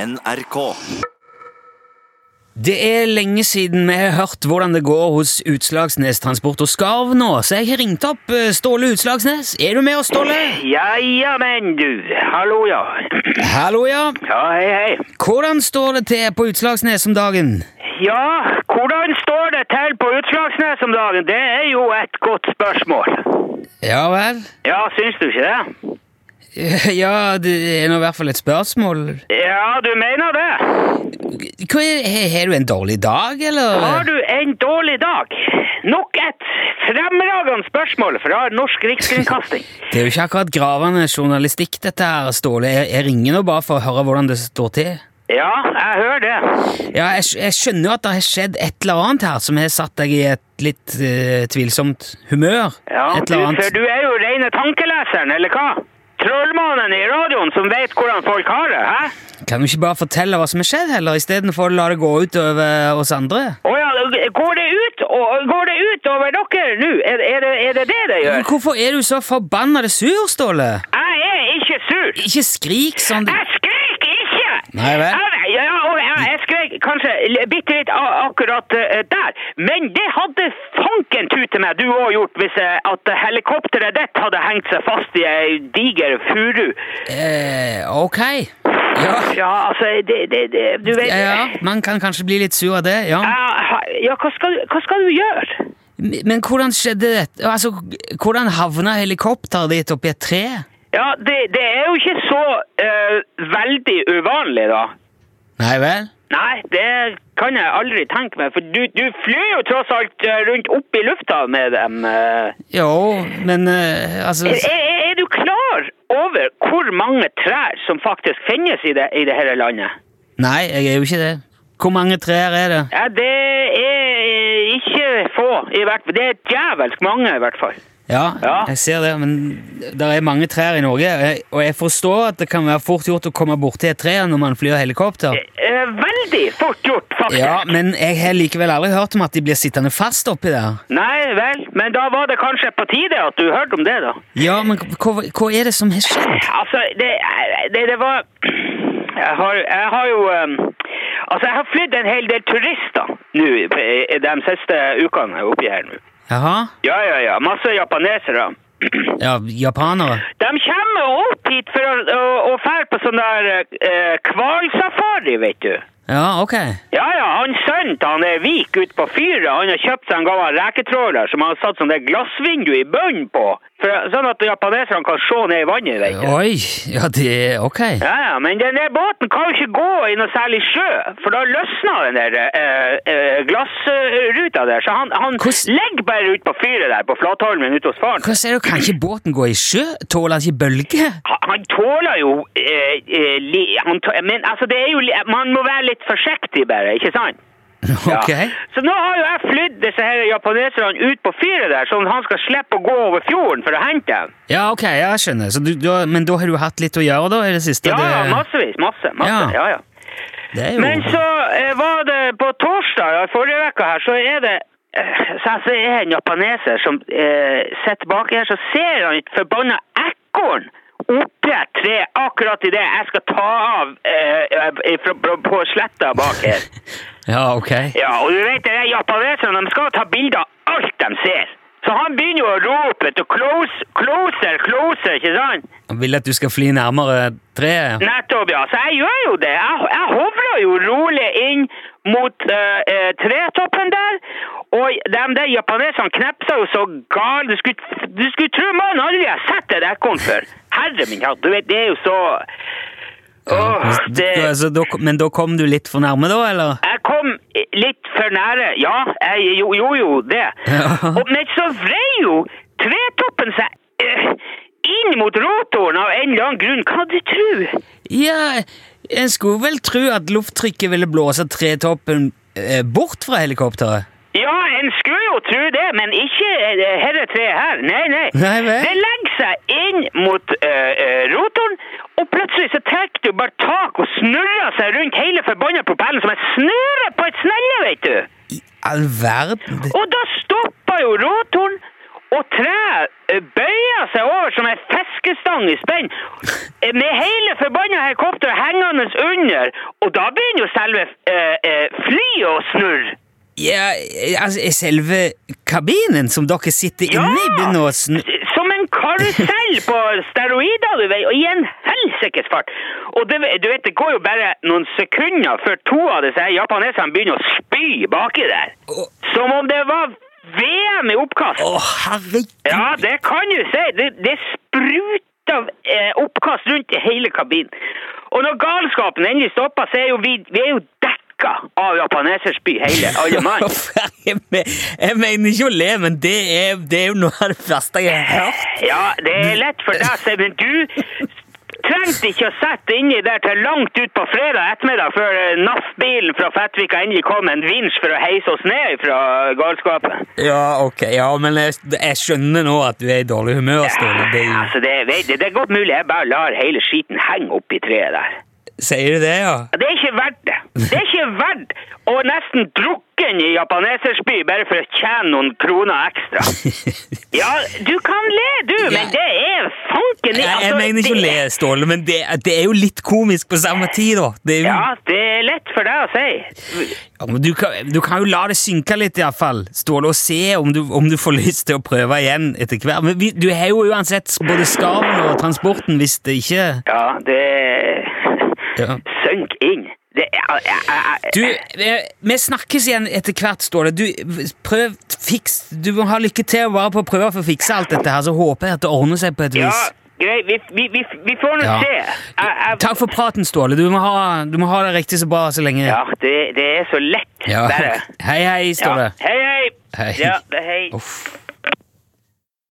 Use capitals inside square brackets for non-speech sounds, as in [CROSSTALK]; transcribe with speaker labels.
Speaker 1: NRK.
Speaker 2: Det er lenge siden vi har hørt hvordan det går hos Utslagsnes Transport og Skarv nå, så jeg har ringt opp eh, Ståle Utslagsnes. Er du med oss, Ståle?
Speaker 3: Ja, ja, men du. Hallo, ja. [CLEARS THROAT]
Speaker 2: Hallo, ja.
Speaker 3: Ja, hei, hei.
Speaker 2: Hvordan står det til på Utslagsnes om dagen?
Speaker 3: Ja, hvordan står det til på Utslagsnes om dagen? Det er jo et godt spørsmål.
Speaker 2: Ja vel?
Speaker 3: Ja, syns du ikke det?
Speaker 2: [LAUGHS] Ja, det er nå i hvert fall et spørsmål.
Speaker 3: Ja, du mener det.
Speaker 2: Hva er, he- Har du en dårlig dag, eller?
Speaker 3: Har du en dårlig dag? Nok et fremragende spørsmål fra Norsk Rikskringkasting.
Speaker 2: Det er jo ikke akkurat gravende journalistikk, dette her, Ståle. Jeg, jeg ringer nå bare for å høre hvordan det står til.
Speaker 3: Ja, jeg hører det.
Speaker 2: Ja, jeg, skj- jeg skjønner jo at det har skjedd et eller annet her som har satt deg i et litt eh, tvilsomt humør.
Speaker 3: Ja,
Speaker 2: et
Speaker 3: du,
Speaker 2: eller
Speaker 3: for
Speaker 2: annet.
Speaker 3: du er jo rene tankeleseren, eller hva? Trollmannen i radioen som vet hvordan folk har det, hæ?
Speaker 2: Kan du ikke bare fortelle hva som har skjedd, heller, istedenfor å la det gå ut over oss andre?
Speaker 3: Å ja, går det ut, og- går det ut over dere nå? Er, er, det, er det det det
Speaker 2: Men
Speaker 3: gjør?
Speaker 2: Hvorfor er du så forbanna sur, Ståle?
Speaker 3: Jeg er ikke sur.
Speaker 2: Ikke skrik sånn.
Speaker 3: Jeg skrek ikke!
Speaker 2: Nei vel?
Speaker 3: Jeg, ja, og jeg, jeg skrek kanskje l- bitte litt a- akkurat eh, der, men det hadde fanken tute meg du òg gjort hvis eh, at helikopteret ditt hadde hengt seg fast i ei diger furu.
Speaker 2: Eh, ok. Ja.
Speaker 3: Ja, altså, det, det, det Du vet
Speaker 2: ja, ja, man kan kanskje bli litt sur av det, ja.
Speaker 3: Ja, ja, hva skal, du- hva skal du gjøre?
Speaker 2: Men men hvordan skjedde dette? Altså, hvordan havna helikopteret ditt oppi et tre?
Speaker 3: Ja, det, det er jo ikke så eh, veldig uvanlig, da.
Speaker 2: Nei vel?
Speaker 3: Nei, det kan jeg aldri tenke meg, for du, du flyr jo tross alt eh, rundt opp i lufta med dem. eh.
Speaker 2: Jo, men eh, altså
Speaker 3: Er, er, er du klar over hvor mange trær som faktisk finnes i det, i det hele landet?
Speaker 2: Nei, jeg er jo ikke det. Hvor mange trær er det?
Speaker 3: Ja, det er eh, ikke få, i hvert fall. Det er djevelsk mange, i hvert fall.
Speaker 2: Ja,
Speaker 3: Ja.
Speaker 2: jeg ser det, men det er mange trær i Norge, og jeg- og jeg forstår at det kan være fort gjort å komme borti et tre når man flyr helikopter.
Speaker 3: Eh, Veldig fort gjort, faktisk.
Speaker 2: Ja, men jeg har likevel aldri hørt om at de blir sittende fast oppi der.
Speaker 3: Nei vel, men da var det kanskje på tide at du hørte om det, da.
Speaker 2: Ja, men hva, hva er det som har skjedd?
Speaker 3: Altså, det, det, det var jeg har, jeg har jo um, Altså, jeg har flydd en hel del turister nå i- i de siste ukene oppi her nå.
Speaker 2: Jaha?
Speaker 3: Ja, ja, ja. Masse japanesere.
Speaker 2: Ja, japanere?
Speaker 3: De kommer opp hit for å, å, å fære på sånn der eh, hvalsafari, vet du.
Speaker 2: Ja, ok.
Speaker 3: Ja, ja, han sønnen til han er Vik ute på fyret, han har kjøpt seg en gammel reketråler som han har satt sånn der glassvindu i bunnen på, for, sånn at japaneserne kan se ned i vannet, vet du.
Speaker 2: Oi, ja, det er ok.
Speaker 3: Ja, ja, men den der båten kan jo ikke gå i noe særlig sjø, for da løsner den der eh, eh, glassruta der, så han, han
Speaker 2: Hvordan-
Speaker 3: legger bare ut på fyret der på Flatholmen ute hos faren.
Speaker 2: Hva sier du, kan ikke båten gå i sjø? Tåler den ikke bølger?
Speaker 3: Han han tåler jo eh, eh, li, han tå, Men altså, det er jo li- Man må være litt forsiktig, bare, ikke sant? Ja.
Speaker 2: Ok.
Speaker 3: Så nå har jo jeg flydd disse her japaneserne ut på fyret der, sånn at han skal slippe å gå over fjorden for å hente dem.
Speaker 2: Ja, ok, ja, jeg skjønner. Så du, du, har- men da har du hatt litt å gjøre, da, i det siste?
Speaker 3: Ja, ja,
Speaker 2: det,
Speaker 3: massevis. Masse. masse.
Speaker 2: Ja.
Speaker 3: Ja, ja.
Speaker 2: det er jo...
Speaker 3: Men så eh, var det på torsdag ja, forrige uke her, så er det eh, så altså, det er en japaneser som eh, sitter bak her, så ser han et forbanna ekorn oppi et tre akkurat idet jeg skal ta av eh, eh, fra, på- på sletta bak her.
Speaker 2: Ja, ok.
Speaker 3: Ja, og du vet det, de japaneserne de skal ta bilder av alt de ser. Så han begynner jo å rope vet du, close, closer, closer, ikke sant?
Speaker 2: Han vil at du skal fly nærmere treet. ja.
Speaker 3: Nettopp, ja. Så jeg gjør jo det. Jeg, jeg hovrer jo rolig inn mot eh, eh, tretoppen der. Og de der japaneserne knepsa jo så galt. Du skulle, du skulle tro mannen aldri har sett et ekorn før. Herre min hatt, du vet, det er jo så Åh,
Speaker 2: Men-
Speaker 3: det...
Speaker 2: du- altså, da, kom- men da kom du litt for nærme, da, eller?
Speaker 3: Jeg kom litt for nære. Ja, jeg gjo- gjorde jo det.
Speaker 2: Ja.
Speaker 3: Og, men så vrei jo tretoppen seg eh, inn mot rotoren av en eller annen grunn. Hva du tror?
Speaker 2: Ja, en skulle vel tro at lufttrykket ville blåse tretoppen eh, bort fra helikopteret.
Speaker 3: Ja, en skulle jo tro det, men ikke eh, herre tre her. Nei, nei.
Speaker 2: Nei vel?
Speaker 3: Det legger seg inn mot eh, eh, rotoren, og plutselig så trekker du bare tak og snurrer seg rundt hele forbanna propellen som en snurre på et snelle, vet du.
Speaker 2: I all verden det-
Speaker 3: Og da stoppa jo rotoren, Og treet eh, bøyer seg over som en fiskestang i spenn, eh, med hele forbanna helikopteret hengende under. Og da begynner jo selve eh, eh, flyet å snurre.
Speaker 2: Ja, altså, er selve kabinen som dere sitter inne i, begynner å snu...
Speaker 3: Som en karusell på steroider, du vet, og i en helsikes fart. Og det, du vet, det går jo bare noen sekunder før to av disse her japaneserne begynner å spy baki der.
Speaker 2: Å,
Speaker 3: Som om det var VM i oppkast.
Speaker 2: å, herregud!
Speaker 3: Ja, det kan du si. Det, det spruter av eh, oppkast rundt i hele kabinen. Og når galskapen endelig stopper, så er jo vi, vi er jo dekka av japaneserspy, hele alle mann.
Speaker 2: [LAUGHS] jeg, men- jeg mener ikke å le, men det er, det er jo noe av det verste jeg har hørt.
Speaker 3: Ja, det er lett for deg, Seb, men du trengte ikke å sette deg inni der til langt ut på fredag ettermiddag før eh, NAF-bilen fra Fettvika endelig kom med en vinsj for å heise oss ned fra galskapen.
Speaker 2: Ja, ok, ja, men jeg, jeg skjønner nå at du er i dårlig humør, Ståle. Det, er
Speaker 3: Altså, det, vet du, det er godt mulig jeg bare lar hele skiten henge oppi treet der.
Speaker 2: jo- sier du det, ja?
Speaker 3: Ja, Det er ikke verdt det. Det er ikke verdt å nesten drukke i japaneserspy bare for å tjene noen kroner
Speaker 2: [LAUGHS]
Speaker 3: ekstra. Ja, du kan le, du, men det er fanken altså,
Speaker 2: Jeg, jeg mener ikke å le, Ståle, men det, det er jo litt komisk på samme tid, da. Det er jo,
Speaker 3: Ja, det er lett for deg å si.
Speaker 2: Ja, men du, kan, du kan jo la det synke litt, iallfall, Ståle, og se om du, om du får [LAUGHS] lyst til å prøve igjen etter hvert. Men vi, du har jo uansett både skarven og transporten hvis det ikke
Speaker 3: Ja, det
Speaker 2: Ja.
Speaker 3: Sønk inn. Det er jeg- jeg- jeg-
Speaker 2: Du, eh, vi snakkes igjen etter hvert, Ståle. Du, prøv, fiks Du må ha lykke til bare på å prøve for å fikse alt dette her, så håper jeg at det ordner seg på et
Speaker 3: Ja,
Speaker 2: vis.
Speaker 3: greit. Vi, vi, vi, vi får nå
Speaker 2: Ja.
Speaker 3: se. Jeg- jeg-
Speaker 2: Takk for praten, Ståle. Du må ha, du må ha det riktig så bra så lenge.
Speaker 3: Ja, det, det er så lett,
Speaker 2: Ja.
Speaker 3: bare.
Speaker 2: Hei, hei,
Speaker 3: Ja.
Speaker 2: Ståle.
Speaker 3: Hei, hei.
Speaker 2: Hei.
Speaker 3: Ja, det er hei.
Speaker 2: Uff.